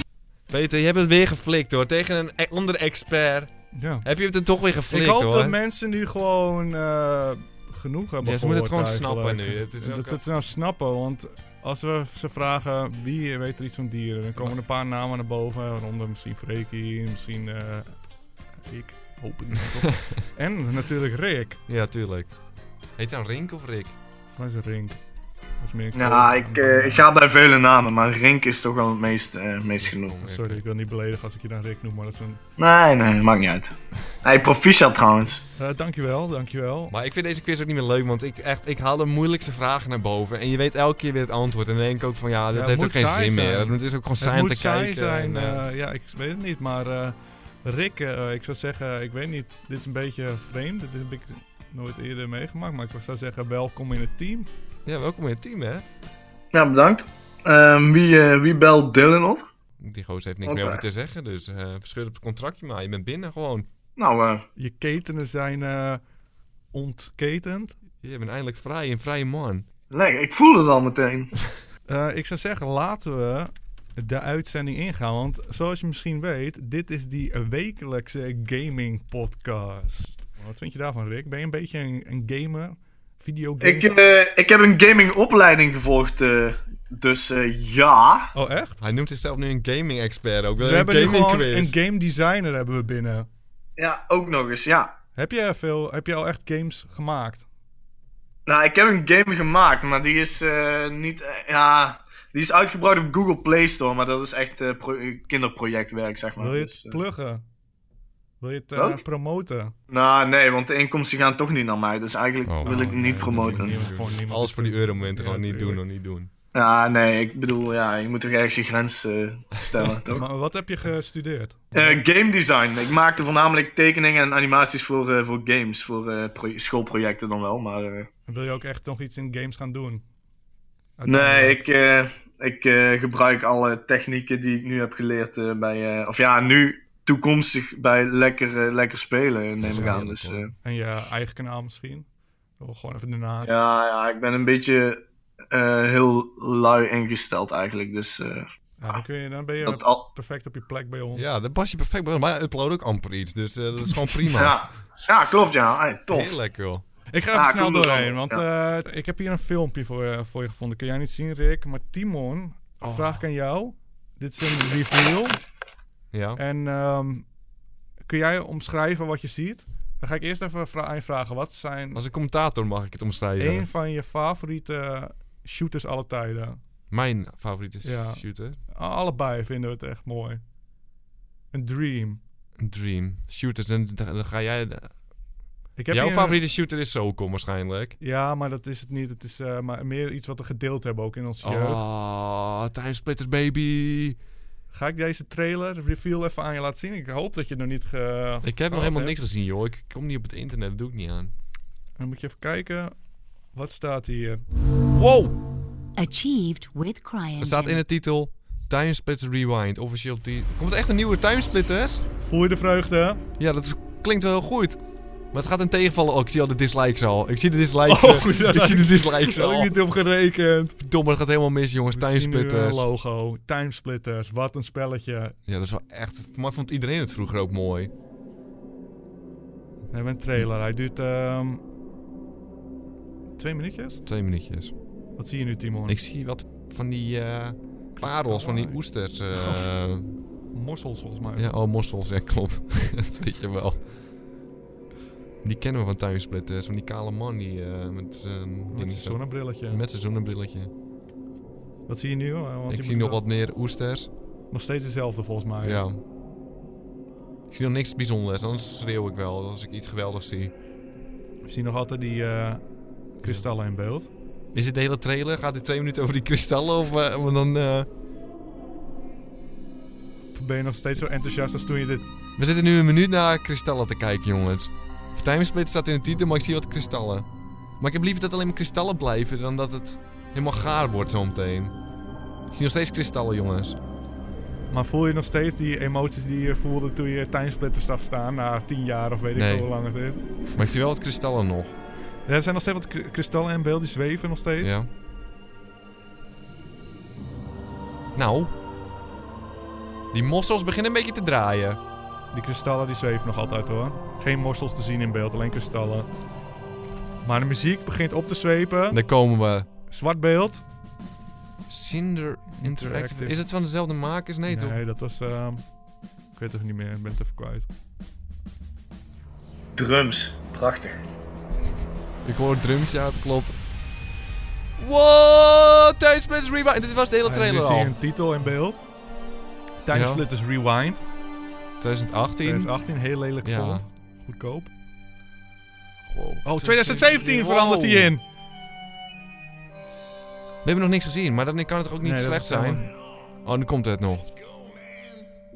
Peter, je hebt het weer geflikt hoor. Tegen een e- andere expert.
Ja.
Heb je het er toch weer geflikt
ik hoop
hoor.
dat mensen nu gewoon eh, genoeg hebben
Ja, ze moeten het
gehoord
gewoon
eigenlijk.
snappen nu. Het is ook
dat
al-
ze het nou snappen, want als we ze vragen wie weet er iets van dieren, dan komen er een paar namen naar boven. Waaronder misschien Freekie, misschien eh, ik, hoop ik. toch. en natuurlijk Rick,
Ja, tuurlijk. Heet dan Rink of Rick?
volgens mij is het Rink. Dat is meer
Nou, ik, eh, ik ga bij vele namen, maar Rink is toch wel het meest, eh, meest genoemd.
Sorry, ik wil niet beledigen als ik je dan Rick noem, maar dat is een...
Nee, nee, maakt niet uit. Hij proficiat trouwens.
Eh, dankjewel, dankjewel.
Maar ik vind deze quiz ook niet meer leuk, want ik, echt, ik haal de moeilijkste vragen naar boven. En je weet elke keer weer het antwoord. En dan denk ik ook van, ja, dat
het
heeft ook
moet
geen
saai
zin meer.
zijn.
Het is ook gewoon
Het
saai om
moet
te
saai
kijken.
zijn,
en, eh,
eh, ja, ik weet het niet, maar eh, Rick, eh, ik zou zeggen, ik weet niet, dit is een beetje vreemd, dit heb ik nooit eerder meegemaakt, maar ik zou zeggen, welkom in het team.
ja, welkom in het team, hè?
Ja, bedankt. Ehm, wie, eh, wie belt Dylan op?
Die gozer heeft niks meer
Oké.
over te zeggen, dus eh verscheur op het contractje maar. Je bent binnen gewoon.
Nou, eh,
Je ketenen zijn eh, ontketend.
Je bent eindelijk vrij, een vrije man.
lekker. Ik voel het al meteen.
Eh, ik zou zeggen, laten we de uitzending ingaan. Want zoals je misschien weet, dit is die wekelijkse gaming podcast. Wat vind je daarvan, Rick? Ben je een beetje een, een gamer? Videogame?
Ik, eh, ik heb een gamingopleiding gevolgd, eh, dus eh, ja.
oh, echt?
Hij noemt zichzelf nu een gaming expert ook.
We
Wel een
hebben nu
eh, gaming
gewoon
quiz.
een game designer hebben we binnen.
Ja, ook nog eens, ja.
Heb je, veel, heb je al echt games gemaakt?
Nou, ik heb een game gemaakt, maar die is eh, niet. eh, ja, die is uitgebreid op Google Play Store, maar dat is echt eh, pro- eh, kinderprojectwerk, zeg maar.
Wil je
Dus,
het
eh,
pluggen? Wil je het eh,
Welk?
promoten?
nou, nee, want de inkomsten gaan toch niet naar mij, dus eigenlijk
Oh,
wil ik
Oh,
niet
nee, dat wil
promoten.
niemand- gewoon niemand
Alles voor die
doen.
euromint gewoon
Ja,
niet doen
tuurlijk.
of niet doen.
Ja, nee, ik bedoel, ja, je moet toch ergens je grens eh, stellen, toch?
Maar wat heb je gestudeerd?
Eh, game design. Ik maakte voornamelijk tekeningen en animaties voor, eh, voor games. Voor eh, pro- schoolprojecten dan wel. Maar eh,
Wil je ook echt nog iets in games gaan doen?
nee,
Uiteindelijk.
ik, eh, ik eh, gebruik alle technieken die ik nu heb geleerd eh, bij. eh, of ja, nu toekomstig bij lekker, eh, lekker spelen, neem ik aan. Dus, eh,
En je eigen kanaal misschien? Wil gewoon even daarnaast.
ja, ja, ik ben een beetje eh, heel lui ingesteld eigenlijk. Dus eh,
Ja, dan, kun je, dan ben je
dat al.
perfect op je plek bij ons.
Ja, dat past je perfect bij. Maar hij upload ook amper iets. Dus eh, dat is gewoon prima.
Ja, ja klopt, ja. Hey, tof.
Heel lekker joh.
Ik ga even
Ah,
snel
kom er
doorheen,
dan.
want eh, ik heb hier een filmpje voor, je- voor je gevonden. Kun jij niet zien, Rick? Maar Timon, vraag ik aan jou. Dit is een reveal.
Ja.
En ehm, kun jij omschrijven wat je ziet? Dan ga ik eerst even vra- aan je vragen. Wat zijn
Als een commentator mag ik het omschrijven.
één van je favoriete shooters alle tijden?
Mijn favoriete
Ja.
shooter.
Allebei vinden we het echt mooi. Een dream.
Een Dream. Shooters. En d- dan ga jij...
Ik heb
Jouw
hier een-
favoriete shooter is Socom waarschijnlijk.
Ja, maar dat is het niet. Het is eh, maar meer iets wat we gedeeld hebben ook in onze jeugd.
Oh, Time Splitters baby.
Ga ik deze trailer, reveal, even aan je laten zien? Ik hoop dat je het nog niet... Ge...
Ik heb nog
Oh,
helemaal
vet.
niks gezien joh. Ik kom niet op het internet. Dat doe ik niet aan.
Dan moet je even kijken. Wat staat hier?
Wow!
Achieved with CryEngine.
Er staat in de titel Time Splitters Rewind. Officieel ti- Komt er echt een nieuwe Time Splitters?
Voel je de vreugde?
Ja, dat is- klinkt wel heel goed. Maar het gaat een tegenvallen. Oh, ik zie al de dislikes al. Ik zie de dislikes.
Oh,
eh,
ja,
ik zie de dislikes
Daar had
al.
ik niet op gerekend.
Domme, het gaat helemaal mis, jongens.
We zien nu een
Timesplitters.
logo. Timesplitters. Wat een spelletje.
Ja, dat is wel echt. Voor mij vond iedereen het vroeger ook mooi.
We hebben een trailer. Hij duurt... ehm, twee minuutjes?
Twee minuutjes.
Wat zie je nu, Timon?
Ik zie wat van die eh parels, van die oesters. eh,
Morsels, volgens mij.
ja, oh, mossels. Ja, klopt. dat weet je wel. Die kennen we van Timesplitters. Van die kale man die eh, met zijn
Met zijn
dingetje-
zonnebrilletje.
Met zijn zonnebrilletje.
Wat zie je nu? eh, Want je
ik zie
moet
nog
wel- Ah,
wat meer oesters.
Nog steeds dezelfde, volgens mij.
Ja. Ik zie nog niks bijzonders, anders schreeuw ik wel als ik iets geweldigs zie.
We zien nog altijd die eh, kristallen in beeld.
Is dit de hele trailer? Gaat dit twee minuten over die kristallen? Of eh, want dan. eh,
Of ben je nog steeds zo enthousiast als toen je dit...
We zitten nu een minuut naar kristallen te kijken, jongens. Voor Timesplit staat in de titel, maar ik zie wat kristallen. Maar ik heb liever dat alleen maar kristallen blijven dan dat het helemaal gaar wordt zometeen. Ik zie nog steeds kristallen, jongens.
Maar voel je nog steeds die emoties die je voelde toen je Timesplitter zag staan? Na tien jaar of weet ik
Nee.
veel hoe lang het is.
Maar ik zie wel wat kristallen nog.
Ja, er zijn nog steeds wat kri- kristallen in beeld, die zweven nog steeds.
Ja. Nou. Die mossels beginnen een beetje te draaien.
Die kristallen die zweven nog altijd hoor. Geen morsels te zien in beeld, alleen kristallen. Maar de muziek begint op te zwepen.
Daar komen we.
Zwart beeld.
Cinder Interactive.
Interactive.
Is het van dezelfde makers? Nee, toch?
dat was... ehm, ik weet het even niet meer, ik ben het even kwijt.
Drums. Prachtig.
Ik hoor drums, ja, dat klopt. Wow, Timesplitters Rewind. Dit was de hele
En
trailer
nu zie je
al.
een titel in beeld. Timesplitters Rewind.
2018.
2018, heel lelijk
Ja.
vond. Goedkoop.
Wow.
Oh, 2017
Wow.
verandert hij in.
We hebben nog niks gezien, maar dan kan het toch ook niet
Nee, dat
slecht
is
zijn? Oh, nu komt het nog.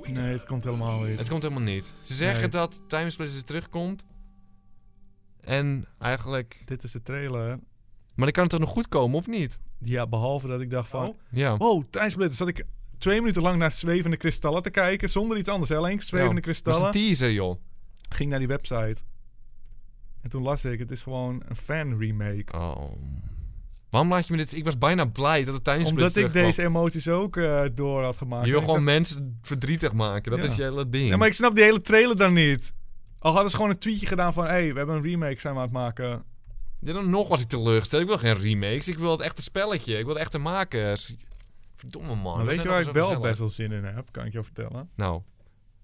Nee, het komt helemaal niet.
Het komt helemaal niet. Ze zeggen
Nee.
dat Timesplitters terugkomt. En eigenlijk...
Dit is de trailer.
Maar dan kan het toch nog goed komen, of niet?
Ja, behalve dat ik dacht van...
Ja.
Wow, tijdsplitters. Oh, Zat ik twee minuten lang naar zwevende kristallen te kijken. Zonder iets anders. hè. Alleen zwevende
Ja. Dat is
kristallen.
een teaser, joh.
Ging naar die website. En toen las ik, het is gewoon een fan remake.
Oh. Waarom laat je me dit... Ik was bijna blij dat het tijdens
Omdat ik deze emoties ook eh, door had gemaakt.
Je wil
Ik
gewoon
dacht-
mensen verdrietig maken. Dat
Ja.
is je hele ding.
Ja, maar ik snap die hele trailer dan niet. Al hadden ze gewoon een tweetje gedaan van... hey, we hebben een remake zijn we aan het
Oh,
maken.
Ja, dan nog was ik teleurgesteld. Ik wil geen remakes. Ik wil het echte spelletje. Ik wil de echte makers. Verdomme man.
maar
we
weet
zijn
je waar ik wel
altijd zo gezellig.
best wel zin in heb? Kan ik je vertellen.
Nou,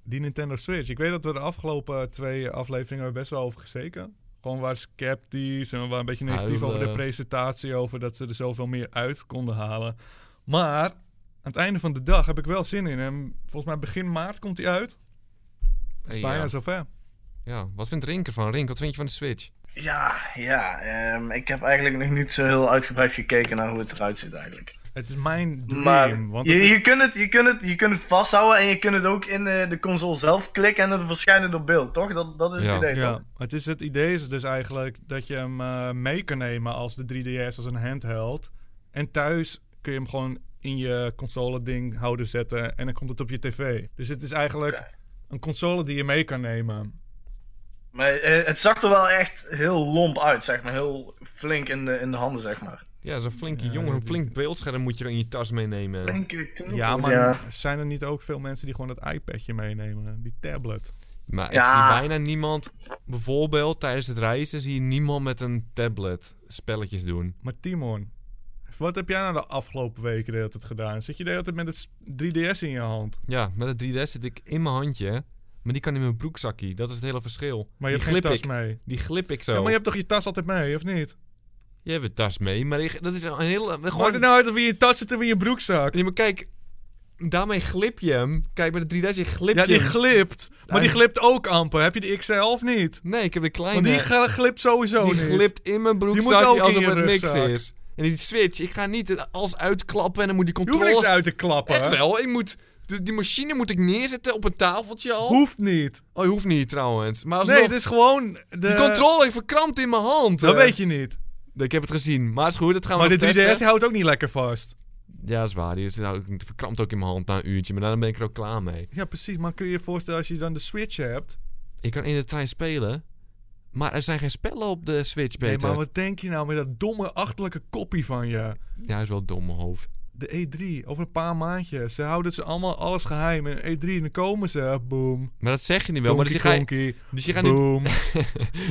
Die Nintendo Switch. Ik weet dat we de afgelopen twee afleveringen er best wel over gezeken. Gewoon waar sceptisch en we waren een beetje negatief
Huilen.
over de presentatie. Over dat ze er zoveel meer uit konden halen. Maar aan het einde van de dag heb ik wel zin in. En volgens mij begin maart komt die uit. Dat is
hey,
bijna
ja.
zover.
Ja, wat vindt Rink ervan? Rink, wat vind je van de Switch?
Ja, ja. ehm, ik heb eigenlijk nog niet zo heel uitgebreid gekeken naar hoe het eruit ziet eigenlijk.
Het is mijn dream.
Maar
want het
je,
is-
je, kunt het, je, kunt het, je kunt het vasthouden en je kunt het ook in eh, de console zelf klikken en het verschijnen door beeld, toch? Dat, dat is
Ja.
het idee,
Ja,
toch?
het, is, het idee is dus eigenlijk dat je hem eh, mee kan nemen als de 3DS, als een handheld. En thuis kun je hem gewoon in je console ding houden zetten en dan komt het op je tv. Dus het is eigenlijk
Oké.
een console die je mee kan nemen.
Maar eh, het zag er wel echt heel lomp uit, zeg maar. Heel flink in de, in de handen, zeg maar.
Ja, zo'n flinke jongen, een flink beeldscherm moet je in je tas meenemen.
Flinke knoppen.
Ja, maar
Ja,
zijn er niet ook veel mensen die gewoon dat iPadje meenemen, die tablet?
Maar ik
Ja.
zie bijna niemand, bijvoorbeeld tijdens het reizen, zie je niemand met een tablet spelletjes doen.
Maar Timon, wat heb jij nou de afgelopen weken de hele tijd gedaan? Zit je de hele tijd met het s- 3DS in je hand?
Ja, met de 3DS zit ik in mijn handje, maar die kan in mijn broekzakje. Dat is het hele verschil.
Maar je hebt
die
geen
glip
tas
ik.
mee.
Die glip ik zo.
Ja, maar je
je,
hebt
hebt...
toch je tas altijd mee, of niet?
een tas mee, maar ik- dat is een hele...
Maakt het
Gewoon...
nou uit of je in je tas zit of in je broekzak?
Ja, maar kijk, daarmee glip je hem. Kijk, met de 3DS, je glip
Ja,
je
die
hem.
glipt. Maar die
Eigenlijk-
glipt ook amper. Heb je de XL of niet?
Nee, ik heb de kleine...
Want Oh, die ga- glipt sowieso
Die
niet.
glipt in mijn
moet ook
broekzakje
in
alsof
je
het niks
rugzak.
is. En die switch, ik ga niet het als uitklappen en dan moet die
Je hoeft
controles...
niks uit te klappen.
Echt wel, ik moet... de- die machine moet ik neerzetten op een tafeltje al.
Hoeft niet.
Oh, hoeft niet trouwens. Maar alsnog,
Nee, het is gewoon... De...
die controle verkrampt in mijn hand.
Dat
eh.
weet je niet.
Ik heb het gezien, maar is goed, dat gaan
Maar
we
de
nog testen.
3DS houdt ook niet lekker vast.
Ja, dat is waar. Die is, het verkrampt ook in mijn hand na een uurtje, maar daarna ben ik er ook klaar mee.
Ja, precies. Maar kun je je voorstellen als je dan de Switch hebt?
Ik kan in de trein spelen, maar er zijn geen spellen op de Switch,
Nee,
Peter.
maar wat denk je nou met dat domme, achterlijke kopie van je?
Ja, hij is wel dom, mijn hoofd.
De E3, over een paar maandjes. Ze houden ze allemaal alles geheim. En E3, en dan komen ze. Boom.
Maar dat zeg je niet wel. Maar dus je,
Donkey
gaat,
Konkie.
dus je gaat niet
Boom.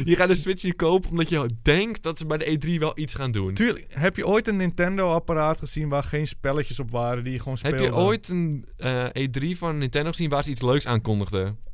Je gaat de Switch niet kopen omdat je denkt dat ze bij de E3 wel iets gaan doen.
Tuurlijk, heb je ooit een Nintendo-apparaat gezien waar geen spelletjes op waren die je gewoon speelde?
Heb je ooit een eh, E3 van Nintendo gezien waar ze iets leuks aankondigden?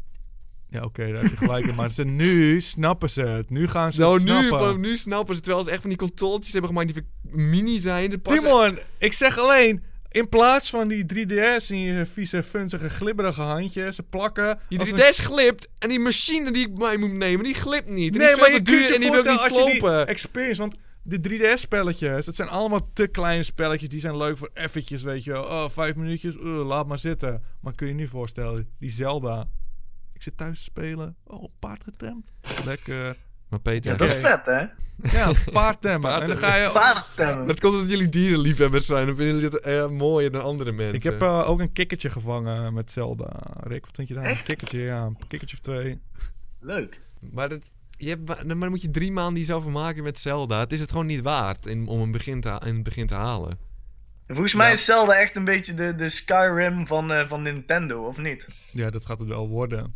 Ja, oké, daar heb je gelijk in. Maar ze, nu snappen ze het. Nu gaan ze
Nou,
het
nu,
snappen.
vanaf nu snappen ze. Terwijl ze echt van die controletjes hebben gemaakt die ver- mini zijn. de pas-
Timon, ik zeg alleen... In plaats van die 3DS in je vieze, funzige, glibberige handjes... Ze plakken...
Die
als
3DS
een-
glipt en die machine die ik mij moet nemen, die glipt niet. En die
Nee,
is
maar
veel
je
te duur
kunt je
en die wil ik
voorstellen als je
niet
die
slopen.
experience... Want die 3DS-spelletjes, dat zijn allemaal te kleine spelletjes. Die zijn leuk voor eventjes, weet je wel. Oh, vijf minuutjes, eh, laat maar zitten. Maar kun je je nu voorstellen, die Zelda... Ik zit thuis te spelen. Oh, paard getemd. Lekker.
Maar Peter,
Ja,
dat is
Oké.
vet, hè?
Ja, paard temmen. En dan ga je...
Paardtemmen.
dat komt omdat jullie dierenliefhebbers zijn. Dan vinden jullie dat eh, mooier dan andere mensen.
Ik heb eh, ook een kikkertje gevangen met Zelda. Rick, wat vind je daar? Een kikkertje, ja. Een kikkertje of twee.
Leuk.
Maar, dat, je hebt, maar dan moet je drie maanden die zelf maken met Zelda. Het is het gewoon niet waard in- om een begin te, ha- in het begin te halen.
Volgens mij is Zelda echt een beetje de, de Skyrim van, eh, van Nintendo, of niet?
Ja, dat gaat het wel worden.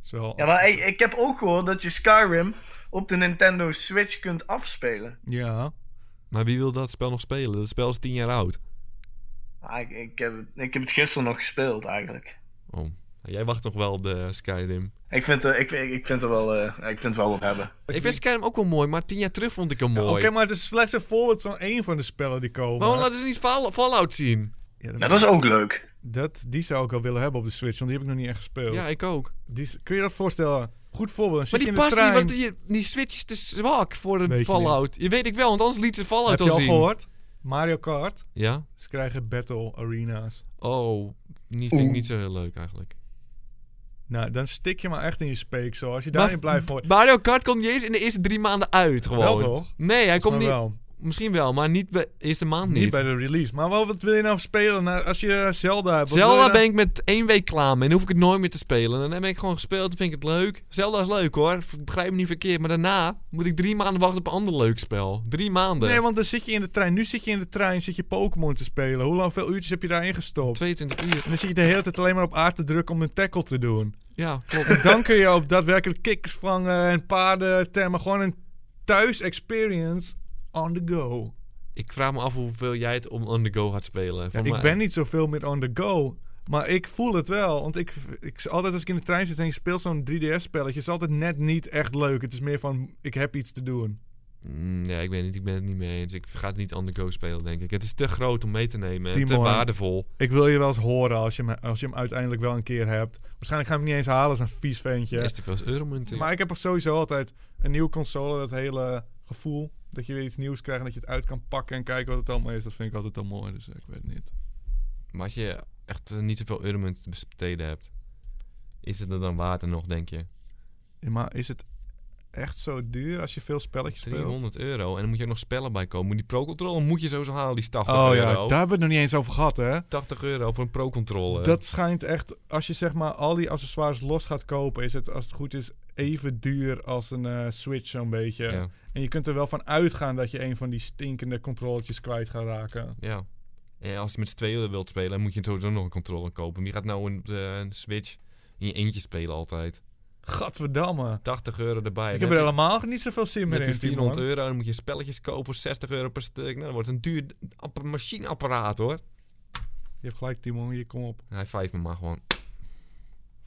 Zo.
Ja, maar ik, ik heb ook gehoord dat je Skyrim op de Nintendo Switch kunt afspelen.
Ja.
Maar wie wil dat spel nog spelen? Dat spel is tien jaar oud.
Ah, ik, ik, heb, het- ik heb het gisteren nog gespeeld, eigenlijk.
Oh. Jij wacht nog wel op de Skyrim.
Ik vind, het ik, ik, ik vind het wel, eh, ik vind het wel wat hebben.
Ik vind Skyrim ook wel mooi, maar tien jaar terug vond ik hem
Oké,
mooi.
maar het is slechts een voorbeeld van één van de spellen die komen.
Waarom laten ze niet Fall- Fallout zien?
Ja,
Ja, dat is ook leuk.
dat, die zou ik wel willen hebben op de Switch, want die heb ik nog niet echt gespeeld.
Ja, ik ook.
Die is- kun je dat voorstellen? Goed voorbeeld. Dan zit je
Maar die
in de
past niet,
trein.
want die, die Switch is te zwak voor
Weet
een
je
Fallout. Je, weet ik wel, want anders liet ze Fallout
Heb je
al
al
zien.
gehoord? Mario Kart.
Ja?
Ze krijgen Battle Arenas.
Oh, niet, vind ik niet zo heel leuk eigenlijk.
Nou, dan stik je maar echt in je speek zo. Als je daar niet blijft voor...
Mario Kart komt niet eens in de eerste drie maanden uit gewoon.
Wel toch?
Nee, hij komt
Maar
niet...
wel.
Misschien wel, maar niet bij, eerste maand
Niet
niet.
bij de release. Maar wel, wat wil je nou spelen nou, als je Zelda hebt? wat wil je
Zelda
nou-
ben ik met één week klaar mee. Dan hoef ik het nooit meer te spelen. Dan heb ik gewoon gespeeld, dan vind ik het leuk. Zelda is leuk hoor, v- begrijp me niet verkeerd. Maar daarna moet ik drie maanden wachten op een ander leuk spel. Drie maanden.
Nee, want dan zit je in de trein. Nu zit je in de trein, zit je Pokémon te spelen. Hoe lang, veel uurtjes heb je daarin gestopt?
22 uur.
En dan zit je de hele tijd alleen maar op A te drukken om een tackle te doen.
Ja, klopt.
Dan kun je ook daadwerkelijk kikkers vangen en paarden temmen. Gewoon een thuis experience on the go.
ik vraag me af hoeveel jij het om on the go gaat spelen.
Ja,
Voor
ik
mij-
ben niet zoveel meer on the go. Maar ik voel het wel. Want ik, ik, altijd als ik in de trein zit en ik speel zo'n 3DS-spelletje, is altijd net niet echt leuk. Het is meer van, ik heb iets te doen.
Mm, ja, ik weet niet. Ik ben het niet mee eens. Ik ga het niet on the go spelen, denk ik. Het is te groot om mee te nemen. En te
Timon.
waardevol.
Ik wil je wel eens horen als je hem, als je hem uiteindelijk wel een keer hebt. Waarschijnlijk ga ik hem niet eens halen als een vies ventje.
Ja. Is te veel euromunt in.
Maar ik heb er sowieso altijd een nieuwe console, dat hele gevoel dat je weer iets nieuws krijgt en dat je het uit kan pakken en kijken wat het allemaal is. Dat vind ik altijd al mooi, dus eh, ik weet het niet.
Maar als je echt eh, niet zoveel euromunt te besteden hebt, is het er dan water nog, denk je?
Ja, maar is het echt zo duur als je veel spelletjes speelt?
300 euro. En dan moet je ook nog spellen bij komen. Moet Die Pro Controller moet je sowieso halen, die is 80
Oh ja, daar
euro.
hebben we het nog niet eens over gehad, hè?
80 euro voor een Pro Controller.
Dat schijnt echt, als je zeg maar al die accessoires los gaat kopen, is het als het goed is even duur als een eh, Switch zo'n beetje.
Ja.
En je kunt er wel van uitgaan dat je een van die stinkende controletjes kwijt gaat raken.
ja. En als je met z'n tweeën wilt spelen, moet je sowieso nog een controller kopen. Wie gaat nou een, eh, een Switch in je eentje spelen altijd?
Gadverdamme.
80 euro
ik
erbij. Dan
heb er
je-
helemaal niet zoveel zin meer
Dan heb
in.
je 400
Timon.
euro, dan moet je spelletjes kopen voor 60 euro per stuk. Nou, dat wordt een duur app- machineapparaat hoor.
Je hebt gelijk, Timon. Hier, kom op.
Hij vijf me maar gewoon.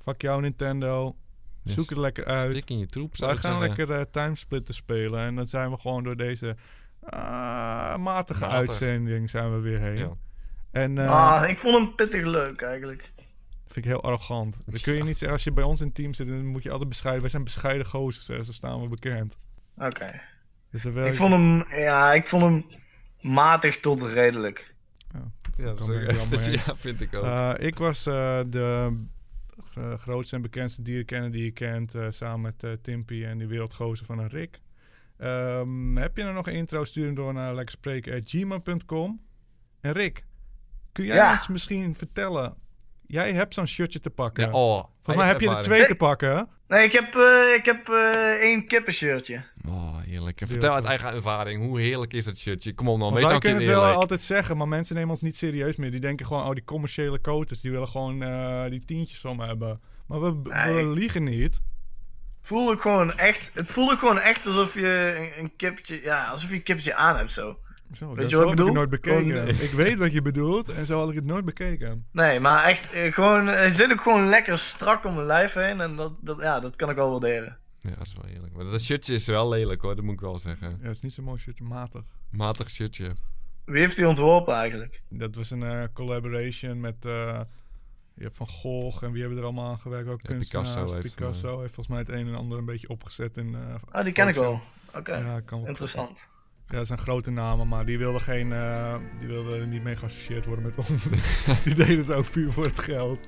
Fuck jou, Nintendo.
Yes.
Zoek het lekker uit.
Stik in je troep, zou
Wij
ik
gaan
zeggen.
lekker eh, Timesplitter spelen. En dan zijn we gewoon door deze ah, matige
Matig.
uitzending zijn we weer heen.
Ja.
En eh,
Ah, ik vond hem pittig leuk eigenlijk.
vind ik heel arrogant. Dat kun je niet zeggen. Als je bij ons in het team zit, dan moet je altijd bescheiden. Wij zijn bescheiden gozers, hè. zo staan we bekend.
Oké.
Dus dat wil
Ik vond hem, ja, ik vond hem matig tot redelijk.
Ja,
kan
dat is
ik
ook-
wel mee eens.
ja, vind ik ook.
Eh, ik was eh, de gro- grootste en bekendste dierenkenner die je kent. eh, samen met eh, Timpy en die wereldgozer van een Rick. Ehm, heb je er nog een intro? Stuur hem door naar lekkerspreken.gmail.com. En Rick, kun jij
Ja.
ons misschien vertellen? Jij hebt zo'n shirtje te pakken.
ja, oh,
Volgens mij heb je er twee te pakken. hè?
Nee, ik heb, eh, ik heb eh, één kippenshirtje.
Oh, heerlijk. Vertel uit eigen ervaring, hoe heerlijk is dat shirtje? Kom op dan,
Want
weet dan
wij
een keer
kunnen het wel
eerlijk.
altijd zeggen, maar mensen nemen ons niet serieus meer. Die denken gewoon, oh, die commerciële coaches, die willen gewoon eh, die tientjes van me hebben. Maar we, we
Nee.
liegen niet.
Voelde ik gewoon echt, het voelde gewoon echt alsof je een, een kippetje, ja, alsof je een kippetje aan hebt zo.
Zo,
Weet
dat-
je
zo
wat ik
heb
bedoel?
nooit bekeken.
Gewoon,
Ik weet wat je bedoelt en zo had ik het nooit bekeken.
Nee, maar echt, eh, gewoon, hij zit ook gewoon lekker strak om mijn lijf heen en dat, dat, ja, dat kan ik wel waarderen.
Ja, dat is wel heerlijk. Maar dat shirtje is wel lelijk hoor, dat moet ik wel zeggen.
Ja, het is niet zo'n mooi shirtje, matig.
Matig shirtje.
Wie heeft die ontworpen eigenlijk?
Dat was een eh, collaboration met eh, je hebt Van Gogh en wie hebben er allemaal aan gewerkt? Ook
Ja,
kunstenaars.
Picasso
Picasso,
heeft,
heeft,
eh,
volgens mij het een en ander een beetje opgezet. In, eh,
Ah, die ken ik wel.
Photoshop.
Oké,
Ja, kan wel
interessant.
Ja, dat zijn grote namen, maar die wilden, geen, eh, die wilden niet mee geassocieerd worden met ons. die deden het ook puur voor het geld.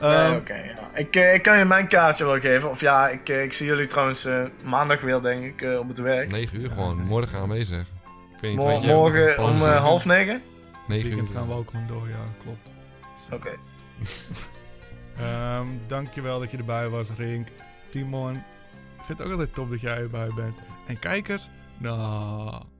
Nee,
Ehm,
Oké, ja. ik, eh, ik kan je mijn kaartje wel geven. Of ja, ik, eh, ik zie jullie trouwens eh, maandag weer, denk ik, eh, op het werk.
9 uur gewoon, morgen aanwezig. Ik weet niet,
Mor-
weet jij-
morgen om
Plannen
eh,
zijn?
half negen.
9 uur.
weekend gaan we ook gewoon door, ja, klopt.
Oké.
Ehm dankjewel dat je erbij was, Rink. Timon, ik vind het ook altijd top dat jij erbij bent. En kijkers, nou...